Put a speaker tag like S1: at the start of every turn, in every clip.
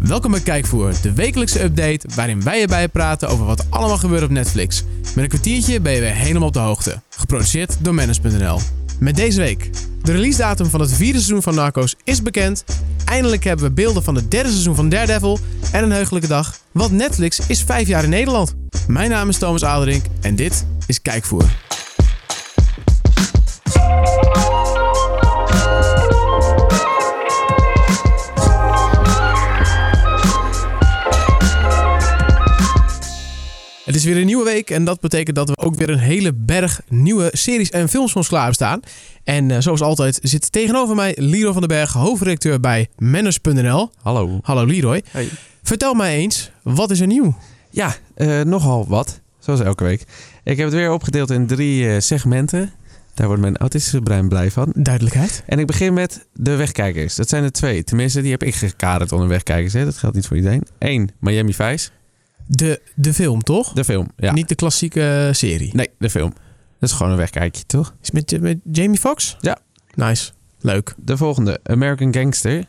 S1: Welkom bij Kijkvoer, de wekelijkse update waarin wij erbij praten over wat allemaal gebeurt op Netflix. Met een kwartiertje ben je weer helemaal op de hoogte. Geproduceerd door Manus.nl. Met deze week. De releasedatum van het vierde seizoen van Narcos is bekend. Eindelijk hebben we beelden van het derde seizoen van Daredevil. En een heugelijke dag, want Netflix is vijf jaar in Nederland. Mijn naam is Thomas Aderink en dit is Kijkvoer. Het is weer een nieuwe week en dat betekent dat we ook weer een hele berg nieuwe series en films voor ons klaar staan. En eh, zoals altijd zit tegenover mij Leroy van den Berg, hoofdredacteur bij Manners.nl.
S2: Hallo.
S1: Hallo Leroy. Vertel mij eens, wat is er nieuw?
S2: Ja, eh, nogal wat. Zoals elke week. Ik heb het weer opgedeeld in drie eh, segmenten. Daar wordt mijn autistische brein blij van.
S1: Duidelijkheid.
S2: En ik begin met de wegkijkers. Dat zijn er twee. Tenminste, die heb ik gekaderd onder wegkijkers. Hè? Dat geldt niet voor iedereen. Eén, Miami Vice.
S1: De, de film, toch?
S2: De film, ja.
S1: Niet de klassieke serie.
S2: Nee, de film. Dat is gewoon een wegkijkje, toch?
S1: Is met, met Jamie Foxx?
S2: Ja.
S1: Nice. Leuk.
S2: De volgende, American Gangster.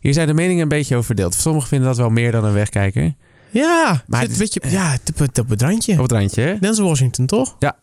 S2: Hier zijn de meningen een beetje over verdeeld. Sommigen vinden dat wel meer dan een wegkijker.
S1: Ja,
S2: Maar
S1: maar
S2: het- eh.
S1: het, weet je, ja, het, het, het
S2: Op
S1: bedrantje.
S2: het randje, hè?
S1: Denzel Washington, toch?
S2: Ja.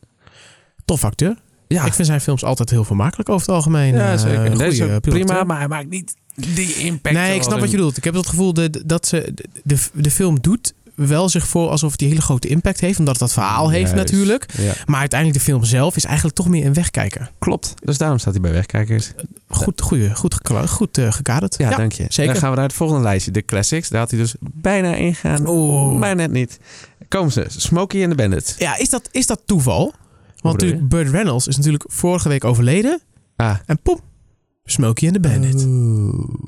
S1: Tof acteur.
S2: Ja,
S1: Ik vind zijn films altijd heel vermakelijk over het algemeen.
S2: ja
S1: Eh,
S2: zeker.
S1: een
S2: Deze is ook
S1: goede piloot,
S2: prima,
S1: hè?
S2: maar hij maakt niet die impact.
S1: Nee, ik
S2: zoals
S1: snap wat
S2: een-
S1: je bedoelt. Ik heb het gevoel dat, dat ze, de, de film doet wel zich voor alsof het die hele grote impact heeft. Omdat het dat verhaal heeft
S2: Juist.
S1: natuurlijk.
S2: Ja.
S1: Maar uiteindelijk de film zelf is eigenlijk toch meer een wegkijker.
S2: Klopt. Dus daarom staat hij bij Wegkijkers.
S1: Goed, goeie, goed, gekla- goed eh, gekaderd.
S2: Ja, dank je.
S1: zeker.
S2: Dan gaan we naar het volgende lijstje. De classics. Daar had hij dus bijna ingaan.
S1: Oeh.
S2: Maar net niet. Komen ze. Smokey and the Bandit.
S1: Ja, is dat, is dat toeval? Want
S2: bedoel je?
S1: natuurlijk, Burt Reynolds is natuurlijk vorige week overleden.
S2: Ah.
S1: En poep, Smokey en de Bandit.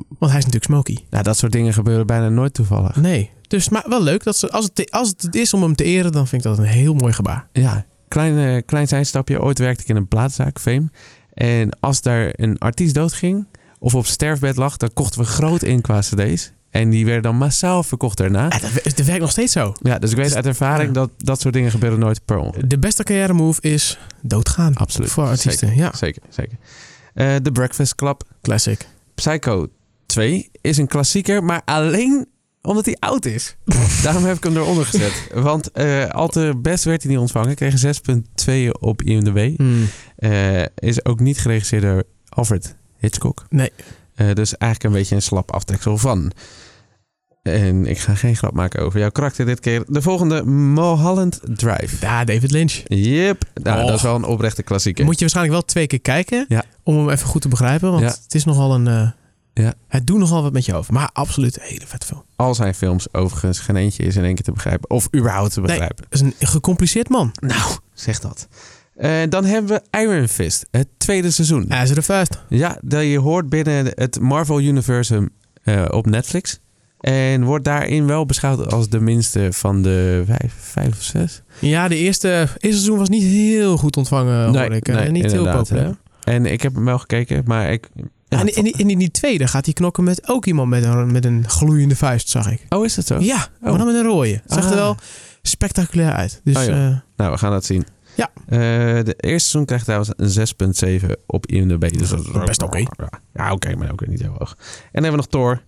S1: Want hij is natuurlijk Smokey.
S2: Nou, dat soort dingen gebeuren bijna nooit toevallig.
S1: Nee. Dus, maar wel leuk. Dat ze, als, het, als het is om hem te eren, dan vind ik dat een heel mooi gebaar.
S2: Ja. Klein, eh, klein zijstapje. Ooit werkte ik in een plaatzaak, Fame. En als daar een artiest doodging of op sterfbed lag, dan kochten we groot in qua cd's. En die werden dan massaal verkocht daarna.
S1: Ja, dat, dat werkt nog steeds zo.
S2: Ja, dus ik weet uit ervaring
S1: Ja.
S2: dat dat soort dingen gebeuren nooit per ongeluk.
S1: De beste carrière move is doodgaan.
S2: Absoluut.
S1: Voor artiesten, ja.
S2: Zeker, zeker. Eh, The Breakfast Club.
S1: Classic.
S2: Psycho 2 is een klassieker, maar alleen omdat hij oud is. Daarom heb ik hem eronder gezet. Want eh al te best werd hij niet ontvangen. Kreeg een 6,2 op IMDb. Eh, is ook niet geregisseerd door Alfred Hitchcock.
S1: Nee.
S2: Eh, dus eigenlijk een beetje een slap aftreksel van. En ik ga geen grap maken over jouw karakter dit keer. De volgende, Mulholland Drive.
S1: Ja, David Lynch.
S2: Yep. Nou,
S1: Och.
S2: dat is wel een oprechte klassieker.
S1: Moet je waarschijnlijk wel twee keer kijken
S2: Ja.
S1: om hem even goed te begrijpen. Want
S2: Ja.
S1: het is nogal een... eh,
S2: Ja.
S1: Het doet nogal wat met je hoofd. Maar absoluut een hele vet film.
S2: Al zijn films overigens geen eentje is in één keer te begrijpen. Of überhaupt te
S1: Nee.
S2: begrijpen.
S1: Het is een gecompliceerd man.
S2: Nou, zeg dat. Eh, dan hebben we Iron Fist, het tweede seizoen.
S1: Hij is er de vuist.
S2: Ja, dat je hoort binnen het Marvel Universum eh, op Netflix. En wordt daarin wel beschouwd als de minste van de vijf, vijf of zes.
S1: Ja, de eerste, eerste seizoen was niet heel goed ontvangen,
S2: Nee,
S1: hoor ik. Eh,
S2: nee,
S1: niet heel
S2: inderdaad,
S1: populair. Ah,
S2: En ik heb hem wel gekeken, maar ik... Ja,
S1: en in, in, in die tweede gaat hij knokken met ook iemand met een, met een gloeiende vuist, zag ik.
S2: Oh, is dat zo?
S1: Ja,
S2: Oh.
S1: maar dan met een rode. Het zag
S2: Ah.
S1: er wel spectaculair uit. Dus
S2: Oh ja.
S1: eh,
S2: Nou, we gaan dat zien.
S1: Ja.
S2: Eh, de eerste seizoen krijgt trouwens een 6,7 op IMDb. Dus dat is
S1: Dat is best oké.
S2: Ja, oké, maar ook weer niet heel hoog. En dan hebben we nog Thor.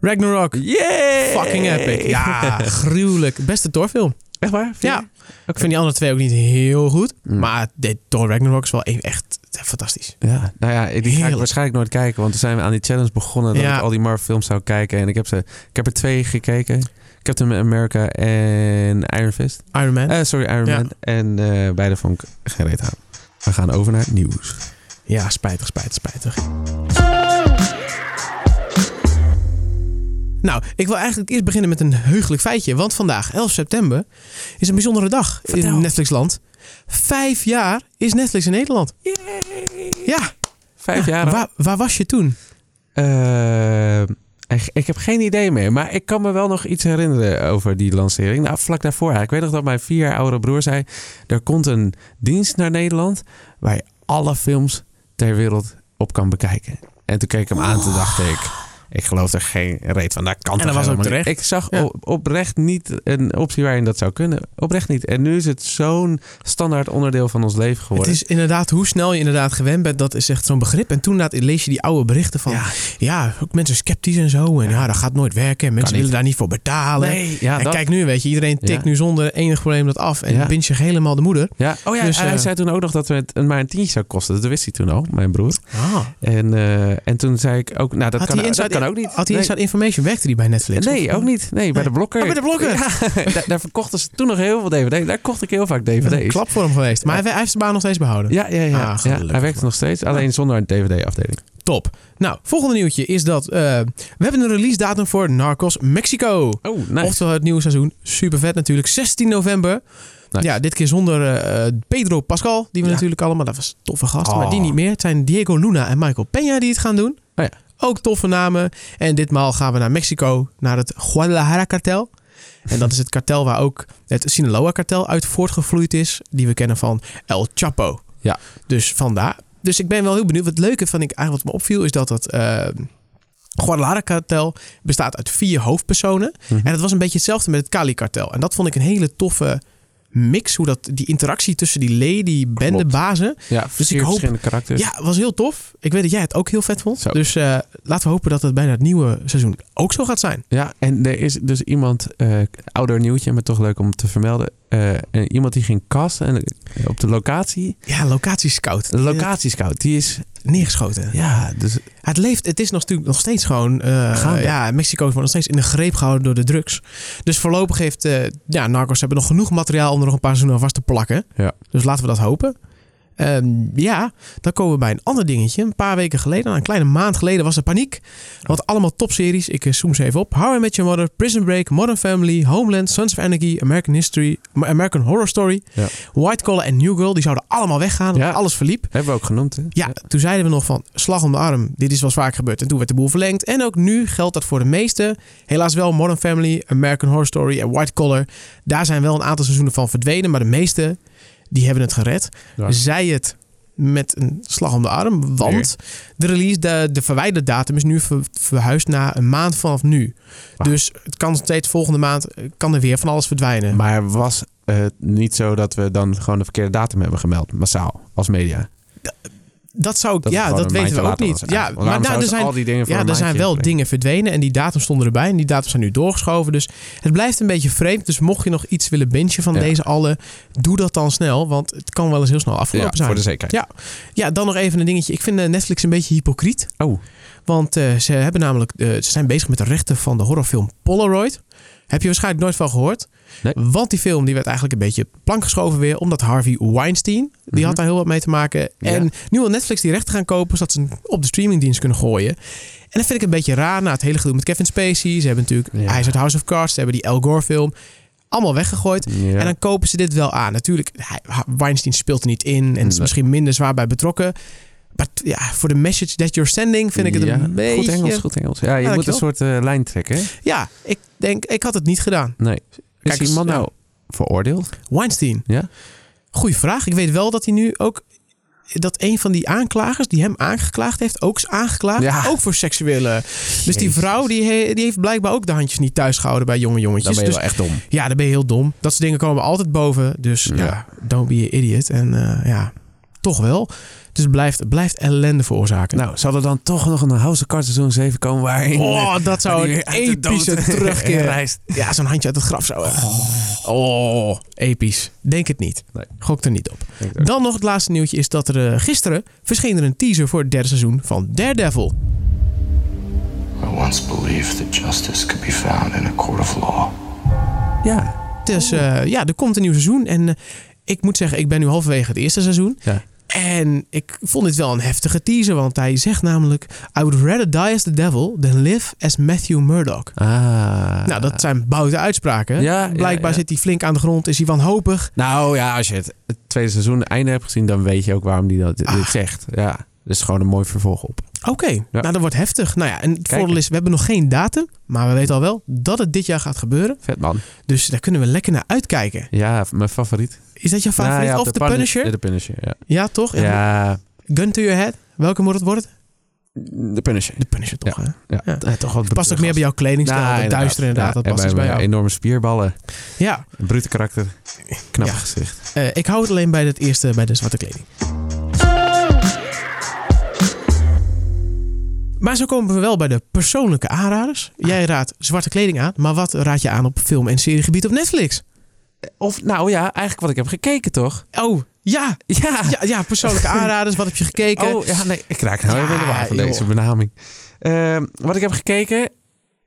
S1: Ragnarok.
S2: Yay!
S1: Fucking epic. Ja, gruwelijk. Beste Thor-film.
S2: Echt waar? Vind
S1: Ja.
S2: je?
S1: Ik vind die andere twee ook niet heel goed.
S2: Mm.
S1: Maar dit Thor Ragnarok is wel e- echt fantastisch.
S2: Ja, nou ja, die ga ik
S1: Heerlijk.
S2: waarschijnlijk nooit kijken. Want toen zijn we aan die challenge begonnen dat
S1: Ja.
S2: ik al die Marvel films zou kijken. En ik heb, ze, ik heb er twee gekeken. Captain America en Iron Fist.
S1: Iron Man.
S2: Eh, sorry, Iron
S1: Ja.
S2: Man. En eh, beide vond ik geen reet aan. We gaan over naar het nieuws.
S1: ja, spijtig, spijtig, spijtig. Nou, ik wil eigenlijk eerst beginnen met een heugelijk feitje. Want vandaag, 11 september, is een bijzondere dag
S2: Vertel.
S1: in Netflixland. Vijf jaar is Netflix in Nederland. Ja,
S2: Vijf
S1: Ja,
S2: jaar.
S1: Waar, waar was je toen?
S2: Eh, ik- ik heb geen idee meer. Maar ik kan me wel nog iets herinneren over die lancering. Nou, vlak daarvoor. eigenlijk. Ik weet nog dat mijn vier jaar oudere broer zei... er komt een dienst naar Nederland... waar je alle films ter wereld op kan bekijken. En toen keek ik hem aan en toen dacht ik... Ik geloof er geen reet van. Dat kan
S1: En
S2: toch
S1: dat was ook
S2: helemaal niet?
S1: terecht.
S2: Ik zag
S1: Ja.
S2: op- oprecht niet een optie waarin dat zou kunnen. Oprecht niet. En nu is het zo'n standaard onderdeel van ons leven
S1: Het
S2: geworden.
S1: is inderdaad hoe snel je inderdaad gewend bent, dat is echt zo'n begrip. En toen laat- lees je die oude berichten van, ja,
S2: ja,
S1: ook mensen sceptisch en zo. En ja, dat gaat nooit werken. En mensen
S2: niet.
S1: willen daar niet voor betalen.
S2: nee, ja,
S1: en
S2: dat-
S1: kijk nu, weet je, iedereen tikt
S2: Ja.
S1: nu zonder enig probleem dat af. En
S2: Ja.
S1: dan pint je helemaal de moeder.
S2: ja. Oh ja,
S1: Dus,
S2: hij
S1: eh,
S2: zei toen ook nog dat het een- maar een tientje zou kosten. Dat wist hij toen al, mijn broer.
S1: Ah.
S2: En, eh, en toen zei ik ook, nou, dat,
S1: Had die
S2: kan, dat
S1: inside-
S2: kan ook niet.
S1: Had die
S2: Nee.
S1: Inside Information, werkte die bij Netflix?
S2: Nee,
S1: Of-
S2: ook niet. Nee, bij de blokker.
S1: Oh, bij de Blokker.
S2: Ja, daar, daar verkochten ze toen nog heel veel DVD. Daar kocht ik heel vaak
S1: Dat is een
S2: DVD's.
S1: klap voor hem geweest. Maar
S2: Ja.
S1: hij, hij heeft zijn baan nog steeds behouden.
S2: Ja, ja, ja.
S1: Ah,
S2: ja
S1: gelukkig
S2: hij werkt
S1: maar.
S2: nog steeds, alleen zonder een DVD-afdeling.
S1: Top. Nou, volgende nieuwtje is dat eh, we hebben een release datum voor Narcos Mexico.
S2: Oh, nice.
S1: Oftewel het nieuwe seizoen. Super vet natuurlijk. 16 november.
S2: Nice.
S1: Ja, dit keer zonder eh, Pedro Pascal. Die we
S2: Ja.
S1: natuurlijk allemaal... Dat was toffe gasten.
S2: Oh.
S1: Maar die niet meer. Het zijn Diego Luna en Michael Peña die het gaan doen.
S2: Oh ja.
S1: Ook toffe namen. En ditmaal gaan we naar Mexico. Naar het Guadalajara-kartel. En dat is het kartel waar ook het Sinaloa-kartel uit voortgevloeid is. Die we kennen van El Chapo.
S2: Ja.
S1: Dus vandaar. Dus ik ben wel heel benieuwd. Wat het leuke van ik eigenlijk wat me opviel is dat dat... eh Guadalajara-kartel bestaat uit vier hoofdpersonen.
S2: Mhm.
S1: En het was een beetje hetzelfde met het Cali-kartel. En dat vond ik een hele toffe mix. Hoe dat, die interactie tussen die leden, die bendebazen.
S2: ja, vier
S1: dus hoop-
S2: verschillende karakters.
S1: Ja, was heel tof. Ik weet dat jij het ook heel vet vond.
S2: Dus- Zo.
S1: Dus eh, laten we hopen dat het bijna het nieuwe seizoen ook zo gaat zijn.
S2: Ja, en er is dus iemand, eh, ouder nieuwtje, maar toch leuk om te vermelden. Eh, eh, iemand die ging kasten en, eh, op de locatie.
S1: Ja, locatiescout.
S2: De locatiescout, die is...
S1: Neergeschoten.
S2: Ja, dus
S1: Het leeft, het is nog- natuurlijk nog steeds gewoon... eh,
S2: Gaande.
S1: ja, Mexico wordt nog steeds in de greep gehouden door de drugs. Dus voorlopig heeft... eh, ja, Narcos hebben nog genoeg materiaal om er nog een paar seizoenen aan vast te plakken.
S2: Ja.
S1: Dus laten we dat hopen. Ehm, ja, dan komen we bij een ander dingetje. Een paar weken geleden, nou, een kleine maand geleden, was er paniek. Want allemaal topseries, ik eh, zoom ze even op. How I Met Your Mother, Prison Break, Modern Family, Homeland, Sons of Anarchy, American History, American Horror Story,
S2: Ja.
S1: White Collar en New Girl. Die zouden allemaal weggaan,
S2: Ja.
S1: want alles verliep.
S2: hebben we ook genoemd, hè?
S1: Ja, toen zeiden we nog van slag om de arm. Dit is wel eens vaak gebeurd. En toen werd de boel verlengd. En ook nu geldt dat voor de meeste. Helaas wel Modern Family, American Horror Story en White Collar. Daar zijn wel een aantal seizoenen van verdwenen. Maar de meeste, die hebben het gered.
S2: Ja.
S1: Zij het met een slag om de arm. Want de release, de, de verwijderdatum is nu ver- verhuisd naar een maand vanaf nu.
S2: Wauw.
S1: Dus het kan steeds volgende maand, eh, kan er weer van alles verdwijnen.
S2: Maar was het niet zo dat we dan gewoon de verkeerde datum hebben gemeld, massaal, als media?
S1: dat zou ik,
S2: Dat het
S1: ja,
S2: gewoon
S1: dat
S2: een
S1: weten we ook
S2: maandje
S1: niet.
S2: later was.
S1: Ja,
S2: Want waarom
S1: maar daar er
S2: zouden ze
S1: zijn
S2: al die dingen voor
S1: Ja,
S2: een
S1: er zijn
S2: maandje
S1: wel
S2: inbrengen?
S1: dingen verdwenen en die datums stonden erbij en die datums zijn nu doorgeschoven. Dus het blijft een beetje vreemd. Dus mocht je nog iets willen bingen van
S2: Ja.
S1: deze alle, doe dat dan snel, want het kan wel eens heel snel afgelopen
S2: Ja,
S1: zijn.
S2: voor de zekerheid.
S1: Ja. ja, dan nog even een dingetje. Ik vind eh, Netflix een beetje hypocriet.
S2: Oh.
S1: Want eh, ze, hebben namelijk, eh, ze zijn bezig met de rechten van de horrorfilm Polaroid. Heb je waarschijnlijk nooit van gehoord.
S2: Nee.
S1: Want die film die werd eigenlijk een beetje op de plank geschoven weer. Omdat Harvey Weinstein, die
S2: Mhm.
S1: had daar heel wat mee te maken.
S2: Ja.
S1: En nu wil Netflix die rechten gaan kopen. Zodat ze hem op de streamingdienst kunnen gooien. En dat vind ik een beetje raar na het hele gedoe met Kevin Spacey. Ze hebben natuurlijk
S2: Ja.
S1: Hij is uit House of Cards. Ze hebben die Al Gore film. Allemaal weggegooid.
S2: Ja.
S1: En dan kopen ze dit wel aan. Natuurlijk, hij- Weinstein speelt er niet in en is
S2: Nee.
S1: misschien minder zwaar bij betrokken. Maar t- ja, voor de message that you're sending vind ik het
S2: Ja,
S1: een beetje...
S2: Goed Engels, goed Engels. Ja, je
S1: Ja,
S2: moet een
S1: dankjewel.
S2: soort eh, lijn trekken. hè?
S1: Ja, ik denk, ik had het niet gedaan.
S2: Nee.
S1: Kijk
S2: is
S1: eens,
S2: iemand
S1: ja.
S2: nou veroordeeld?
S1: Weinstein.
S2: Ja?
S1: Goeie vraag. Ik weet wel dat hij nu ook... Dat een van die aanklagers die hem aangeklaagd heeft, ook is aangeklaagd.
S2: Ja.
S1: Ook voor seksuele. Dus die
S2: Jezus.
S1: vrouw die, he- die heeft blijkbaar ook de handjes niet thuis gehouden bij jonge
S2: Dan
S1: jongetjes.
S2: ben je
S1: Dus
S2: wel echt dom.
S1: ja, dan ben je heel dom. Dat soort dingen komen altijd boven. Dus ja,
S2: Ja.
S1: don't be an idiot. En eh, ja, toch wel. Dus het blijft, het blijft ellende veroorzaken.
S2: Nou, zal er dan toch nog een House of Cards seizoen 7 komen waarin... eh,
S1: oh, dat zou
S2: die
S1: een
S2: weer uit de dood
S1: epische terugkeer.
S2: reist?
S1: Ja, zo'n handje uit het graf zou. Oh, episch. Denk het niet.
S2: Nee.
S1: Gok er niet op. Dan nog het laatste nieuwtje is dat er eh, gisteren verscheen er een teaser voor het derde seizoen van Daredevil.
S3: I once believed that justice could be found in a court of law.
S2: Ja.
S1: Dus eh, ja, er komt een nieuw seizoen. En eh, ik moet zeggen, ik ben nu halverwege het eerste seizoen.
S2: Ja.
S1: En ik vond dit wel een heftige teaser, want hij zegt namelijk... I would rather die as the devil than live as Matthew Murdoch.
S2: Ah.
S1: Nou, dat zijn boute uitspraken.
S2: Ja, ja,
S1: Blijkbaar
S2: ja.
S1: zit hij flink aan de grond, is hij wanhopig.
S2: Nou ja, als je het, het tweede seizoen einde hebt gezien, dan weet je ook waarom die dat, dit
S1: Ah.
S2: zegt. Ja. Dus het is gewoon een mooi vervolg op.
S1: Oké, nou dat wordt heftig. Nou ja, en het
S2: Kijk.
S1: voordeel is, we hebben nog geen datum. Maar we weten al wel dat het dit jaar gaat gebeuren.
S2: Vet man.
S1: Dus daar kunnen we lekker naar uitkijken.
S2: Ja, mijn favoriet.
S1: Is dat jouw favoriet?
S2: Nou ja,
S1: of The
S2: Pun-
S1: Punisher?
S2: Ja, de Punisher, ja.
S1: Ja, toch?
S2: Ja,
S1: Gun to your head. Welke moet het worden?
S2: De Punisher.
S1: De Punisher toch, hè?
S2: Ja.
S1: Ja.
S2: Eh, toch wat
S1: Past ook meer bij jouw kledingstijl.
S2: Ja,
S1: dat
S2: inderdaad.
S1: duister inderdaad, dat
S2: en
S1: past dus bij jou.
S2: Enorme spierballen,
S1: Ja,
S2: een brute karakter, knap
S1: Ja.
S2: gezicht.
S1: eh, ik hou het alleen bij het eerste, bij de zwarte kleding. Maar zo komen we wel bij de persoonlijke aanraders. Jij raadt zwarte kleding aan, maar wat raad je aan op film- en seriegebied op Netflix?
S2: Of nou ja, eigenlijk wat ik heb gekeken toch?
S1: Oh, ja,
S2: Ja.
S1: ja, ja persoonlijke aanraders, wat heb je gekeken?
S2: Ah. Oh, ja, nee, ik raak nou
S1: Ja,
S2: helemaal in de war van
S1: joh.
S2: deze benaming. Ehm, wat ik heb gekeken,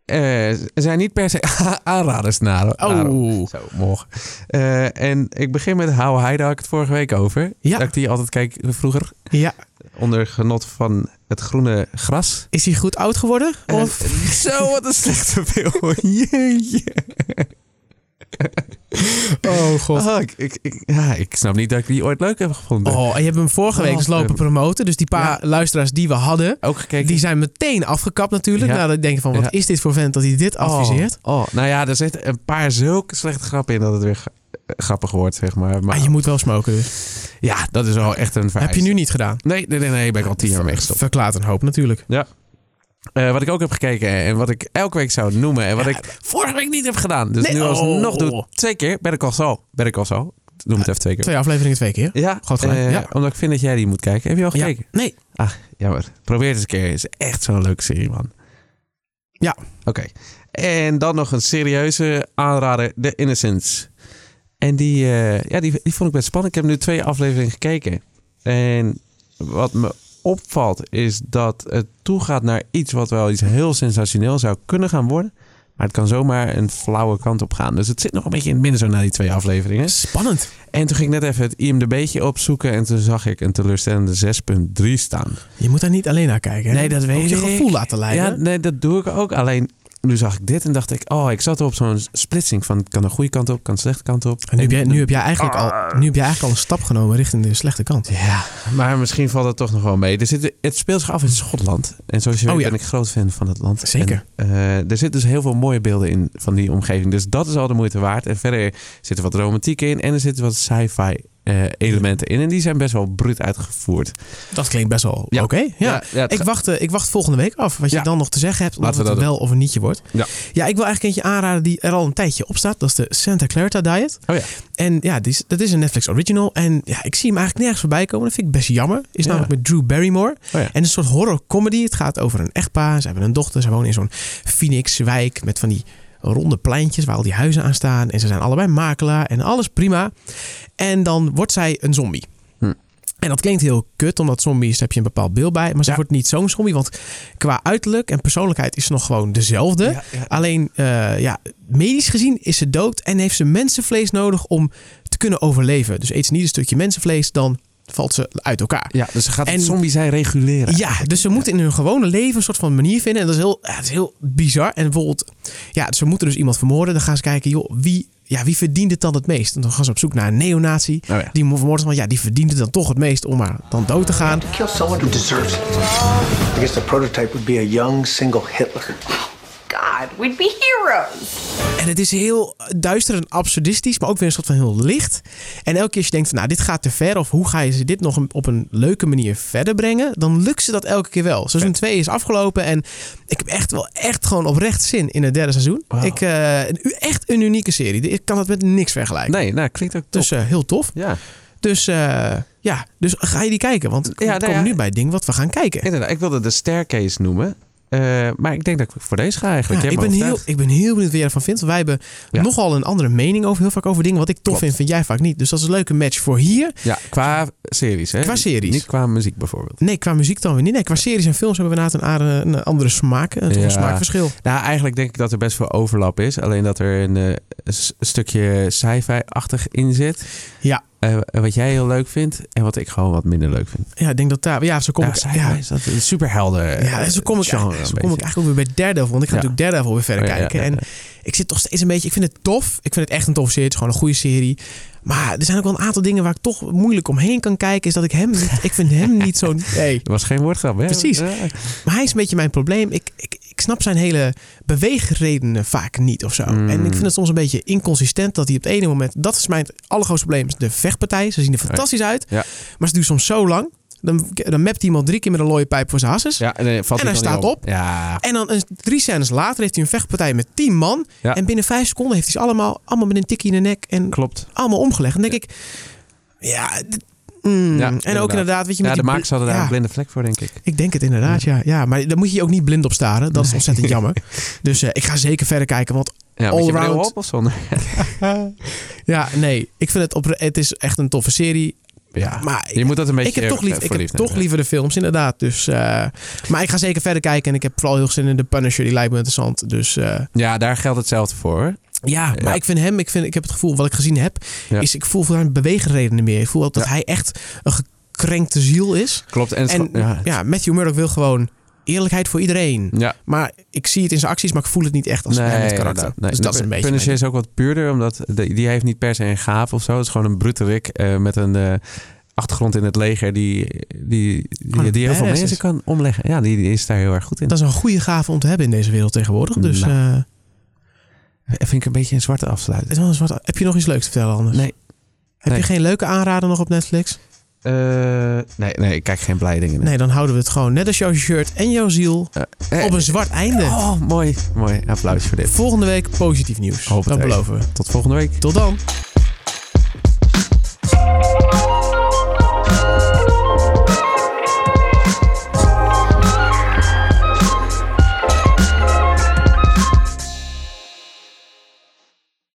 S2: eh, zijn niet per se aanraders naar.
S1: Oh.
S2: Zo, morgen. Eh, en ik begin met How High, daar had ik het vorige week over.
S1: Ja.
S2: Dat ik die altijd kijk vroeger,
S1: Ja,
S2: onder genot van het groene gras.
S1: is hij goed oud geworden? Of...
S2: Eh, zo, wat een slechte film. Jeetje.
S1: Oh, god.
S2: Oh, ik, ik, ik- ja, ik snap niet dat ik die ooit leuk heb gevonden.
S1: Oh, en je hebt hem vorige week eens lopen
S2: Ehm,
S1: promoten. Dus die paar luisteraars die we hadden,
S2: Ook gekeken.
S1: die zijn meteen afgekapt natuurlijk.
S2: Ja.
S1: Nadat ik denk van, wat
S2: Ja.
S1: is dit voor vent dat hij dit adviseert?
S2: Oh, oh, nou ja, er zitten een paar zulke slechte grappen in dat het weer g- eh, grappig wordt, zeg maar. maar
S1: Maar je moet wel smoken dus.
S2: ja, dat is wel echt een vereist.
S1: Heb je nu niet gedaan.
S2: Nee, nee, nee, nee, ben ik al tien jaar mee gestopt.
S1: Verklaart een hoop natuurlijk.
S2: Eh, wat ik ook heb gekeken en wat ik elke week zou noemen en wat
S1: Ja.
S2: ik vorige week niet heb gedaan. Dus
S1: Nee,
S2: nu
S1: oh.
S2: alsnog doe twee keer. Ben ik al zo. Ben ik al zo. Noem het even twee keer.
S1: Twee afleveringen twee keer.
S2: Ja,
S1: Goed gedaan,
S2: eh,
S1: ja.
S2: omdat ik vind dat jij die moet kijken. Heb je al
S1: Ja.
S2: gekeken?
S1: Nee.
S2: Jammer. Probeer het eens een keer. Het is echt zo'n leuke serie, man.
S1: Ja.
S2: Oké. En dan nog een serieuze aanrader, The Innocents. En die, eh, ja, die, die vond ik best spannend. Ik heb nu twee afleveringen gekeken. En wat me opvalt is dat het toegaat naar iets wat wel iets heel sensationeel zou kunnen gaan worden. Maar het kan zomaar een flauwe kant op gaan. Dus het zit nog een beetje in het midden zo na die twee afleveringen.
S1: Spannant.
S2: En toen ging ik net even het IMDB'tje opzoeken. En toen zag ik een teleurstellende 6.3 staan.
S1: Je moet daar niet alleen naar kijken. hè?
S2: Nee, dat weet
S1: Ook je
S2: ik.
S1: gevoel laten leiden.
S2: Ja, nee, dat doe ik ook. Alleen, nu zag ik dit en dacht ik... Oh, ik zat op zo'n splitsing van... kan de goede kant op, kan de slechte kant op.
S1: en nu heb, jij, nu, heb jij eigenlijk al, nu heb jij eigenlijk al een stap genomen richting de slechte kant.
S2: Ah. Ja, maar misschien valt dat toch nog wel mee. Er zit, het speelt zich af in Schotland. En zoals je
S1: Oh,
S2: weet
S1: ja.
S2: ben ik groot fan van het land.
S1: Zeker.
S2: En, eh, er zitten dus heel veel mooie beelden in van die omgeving. Dus dat is al de moeite waard. En verder zit er wat romantiek in. En er zitten wat sci-fi eh, elementen in. En die zijn best wel bruut uitgevoerd.
S1: Dat klinkt best wel
S2: Ja.
S1: oké. Ja.
S2: het
S1: Ik
S2: ga-
S1: wacht, eh, ik wacht volgende week af wat je
S2: Ja.
S1: dan nog te zeggen hebt. Of
S2: Laten
S1: het
S2: we
S1: een
S2: dat
S1: wel of een nietje wordt.
S2: Ja.
S1: ja, ik wil eigenlijk eentje aanraden die er al een tijdje op staat. Dat is de Santa Clarita Diet.
S2: Oh ja.
S1: En ja, die is, dat is een Netflix original. En ja, ik zie hem eigenlijk nergens voorbij komen. Dat vind ik best jammer. Is
S2: Ja. Oh
S1: namelijk met Drew Barrymore.
S2: ja.
S1: En een soort horror comedy. Het gaat over een echtpaar. Ze hebben een dochter. Ze wonen in zo'n Phoenix-wijk met van die ronde pleintjes waar al die huizen aan staan. En ze zijn allebei makelaar en alles prima. En dan wordt zij een zombie.
S2: Hm.
S1: En dat klinkt heel kut, omdat zombies heb je een bepaald beeld bij. Maar ze wordt niet zo'n zombie, want qua uiterlijk en persoonlijkheid is ze nog gewoon dezelfde.
S2: Ja, ja.
S1: Alleen, eh, ja, medisch gezien is ze dood en heeft ze mensenvlees nodig om te kunnen overleven. Dus eet ze niet een stukje mensenvlees, dan valt ze uit elkaar.
S2: Ja, dus ze gaat
S1: En-
S2: het zombie zijn reguleren.
S1: Ja, dus ze moeten in hun gewone leven een soort van manier vinden. En dat is heel, ja, dat is heel bizar. En bijvoorbeeld, ja, ze moeten dus iemand vermoorden. Dan gaan ze kijken, joh, wie, ja, wie verdient het dan het meest? En dan gaan ze op zoek naar een neonatie.
S2: Oh ja.
S1: Die vermoorden, want ja, die verdient het dan toch het meest om maar dan dood te gaan.
S4: Kill someone who deserves it. I guess the prototype would be a young single Hitler.
S5: God, we'd be heroes.
S1: En het is heel duister en absurdistisch, maar ook weer een soort van heel licht. En elke keer als je denkt, van, nou, dit gaat te ver, of hoe ga je ze dit nog een- op een leuke manier verder brengen, dan lukt ze dat elke keer wel. Seizoen 2 is afgelopen en ik heb echt wel echt gewoon oprecht zin in het derde seizoen.
S2: Wauw.
S1: Ik, eh, een- echt een unieke serie. Ik kan dat met niks vergelijken.
S2: Nee, nou klinkt ook top.
S1: Dus eh, heel tof.
S2: ja.
S1: Dus eh, ja, dus ga je die kijken, want we
S2: Ja, nou
S1: komen
S2: ja.
S1: nu bij het ding wat we gaan kijken.
S2: Inderdaad, ik wilde de staircase noemen. Eh, maar ik denk dat ik voor deze ga eigenlijk.
S1: Ja,
S2: Je
S1: ik,
S2: hebt
S1: ben
S2: me
S1: heel,
S2: overtuigd.
S1: ik ben heel benieuwd wat jij ervan vindt. want Wij hebben
S2: Ja.
S1: nogal een andere mening over heel vaak over dingen. Wat ik tof
S2: Klopt.
S1: vind, vind jij vaak niet. Dus dat is een leuke match voor hier.
S2: Ja, qua series. Hè?
S1: Qua series.
S2: Niet qua muziek bijvoorbeeld.
S1: Nee, qua muziek dan weer niet. Nee, qua series en films hebben we inderdaad een, aarde- een andere smaak. Een
S2: Ja.
S1: smaakverschil.
S2: Nou, eigenlijk denk ik dat er best veel overlap is. Alleen dat er een, eh, s- een stukje sci-fi-achtig in zit.
S1: Ja.
S2: Eh, wat jij heel leuk vindt en wat ik gewoon wat minder leuk vind.
S1: Ja, ik denk dat daar... Ja, zo kom
S2: ja,
S1: ik...
S2: sci-fi
S1: Ja,
S2: is dat een superhelden.
S1: ja, zo kom ik, zo
S2: genre
S1: kom
S2: een
S1: ik
S2: beetje.
S1: eigenlijk ook weer bij Daredevil. Want ik ga
S2: Ja.
S1: natuurlijk Daredevil weer verder
S2: Oh, ja, ja,
S1: kijken.
S2: ja,
S1: En
S2: ja.
S1: ik zit toch steeds een beetje... Ik vind het tof. Ik vind het echt een tof serie. Het is gewoon een goede serie. Maar er zijn ook wel een aantal dingen waar ik toch moeilijk omheen kan kijken. Is dat ik hem... niet- Ik vind hem niet zo'n... Nee.
S2: Er was geen woordgrap, hè?
S1: Precies.
S2: Ja.
S1: Maar hij is een beetje mijn probleem. Ik, ik, ik snap zijn hele beweegredenen vaak niet of zo.
S2: Mm.
S1: En ik vind het soms een beetje inconsistent dat hij op het ene moment... Dat is mijn allergrootste probleem, is de vechtpartij. Ze zien er fantastisch uit,
S2: Ja.
S1: maar ze duurt soms zo lang. Dan, dan mapt iemand drie keer met een looie pijp voor zijn hasses.
S2: Ja, en, dan valt
S1: En hij
S2: dan
S1: staat
S2: niet
S1: op. Mm,
S2: Ja.
S1: En dan een- drie scènes later heeft hij een vechtpartij met tien man.
S2: Ja.
S1: En binnen vijf seconden heeft hij ze allemaal, allemaal met een tikkie in de nek. En
S2: Klopt.
S1: allemaal omgelegd. En dan denk ik, ja. dit- mm.
S2: Ja,
S1: en ook inderdaad, weet je, met
S2: Ja, de
S1: die
S2: makers
S1: bl-
S2: hadden daar
S1: ja.
S2: een blinde vlek voor, denk ik.
S1: Ik denk het inderdaad, ja. ja. Maar daar moet je je ook niet blind op staren. Dat is ontzettend jammer. Dus eh, ik ga zeker verder kijken. Want
S2: Ja, met je bril
S1: Allround.
S2: op of zonder?
S1: ja, nee, ik vind het op. Het is echt een toffe serie.
S2: Ja,
S1: maar
S2: je moet dat een beetje
S1: ik heb toch,
S2: voor
S1: lief, ik heb
S2: lief
S1: toch
S2: nemen.
S1: liever de films, inderdaad. Dus, eh, maar ik ga zeker verder kijken. En ik heb vooral heel veel zin in The Punisher. Die lijkt me interessant. Dus eh,
S2: Ja, daar geldt hetzelfde voor. hoor.
S1: ja, maar
S2: Ja.
S1: ik vind hem... Ik, vind, ik heb het gevoel, wat ik gezien heb...
S2: Ja.
S1: is ik voel voor hem beweegredenen meer. Ik voel ook dat hij echt een gekrenkte ziel is.
S2: Klopt. En, het is
S1: En
S2: gewoon-
S1: ja,
S2: ja.
S1: Matthew Murdock wil gewoon eerlijkheid voor iedereen.
S2: Ja.
S1: Maar ik zie het in zijn acties, maar ik voel het niet echt als hem het karakter.
S2: inderdaad. Nee,
S1: dus dat is een beetje...
S2: Punisher is ook wat puurder, omdat de- die heeft niet per se een gaaf of zo. Het is gewoon een bruterik eh met een eh, achtergrond in het leger die, die,
S1: een
S2: die, die heel
S1: badass
S2: veel mensen
S1: is.
S2: kan omleggen. Ja, die, die is daar heel erg goed in.
S1: Dat is een goede gave om te hebben in deze wereld tegenwoordig. Dus
S2: Nou.
S1: eh,
S2: vind ik een beetje een zwarte
S1: het
S2: afsluiting.
S1: is wel een zwarte- heb je nog iets leuks te vertellen anders?
S2: Nee.
S1: Heb
S2: Nee.
S1: je geen leuke aanrader nog op Netflix?
S2: Eh, nee, nee, ik kijk geen blij dingen.
S1: Nee, dan houden we het gewoon net als jouw shirt en jouw ziel
S2: Eh, eh,
S1: op een zwart einde.
S2: Oh, mooi. Mooi. Applaus voor dit.
S1: Volgende week positief nieuws.
S2: Hoop het
S1: dat
S2: echt.
S1: beloven we.
S2: Tot volgende week.
S1: Tot dan.